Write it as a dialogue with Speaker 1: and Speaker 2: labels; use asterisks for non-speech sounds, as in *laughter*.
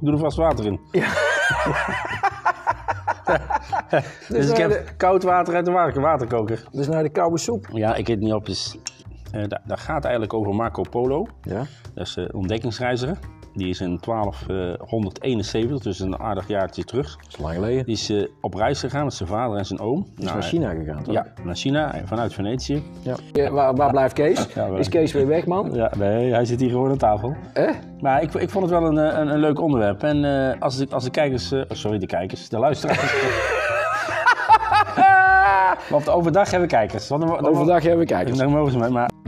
Speaker 1: Doe er vast water in. *laughs* dus ik
Speaker 2: nou
Speaker 1: heb
Speaker 2: de-
Speaker 1: koud water uit de wa- waterkoker.
Speaker 2: Dus naar de koude soep.
Speaker 1: Ja, ik eet niet op. Dus, eh dat, dat gaat eigenlijk over Marco Polo.
Speaker 2: Ja.
Speaker 1: Dat is een ontdekkingsreiziger. Die is in 1271, dus een aardig jaartje terug.
Speaker 2: Dat is lang geleden.
Speaker 1: Die is eh, op reis gegaan met zijn vader en zijn oom.
Speaker 2: is naar China gegaan, toch?
Speaker 1: Ja, naar China, eh, vanuit Venetië.
Speaker 2: Ja. waar, waar blijft Kees?
Speaker 1: Ja, waar-
Speaker 2: Is Kees weer weg, man?
Speaker 1: Ja, nee, hij zit hier gewoon aan tafel.
Speaker 2: Eh?
Speaker 1: Maar ik, ik vond het wel een, eh, een, een leuk onderwerp. En eh, als, de, als de kijkers, eh, sorry, de kijkers, de luisteraars. Want overdag hebben we kijkers. Dan, dan,
Speaker 2: Overdag hebben we kijkers.
Speaker 1: Dan mogen ze mij, maar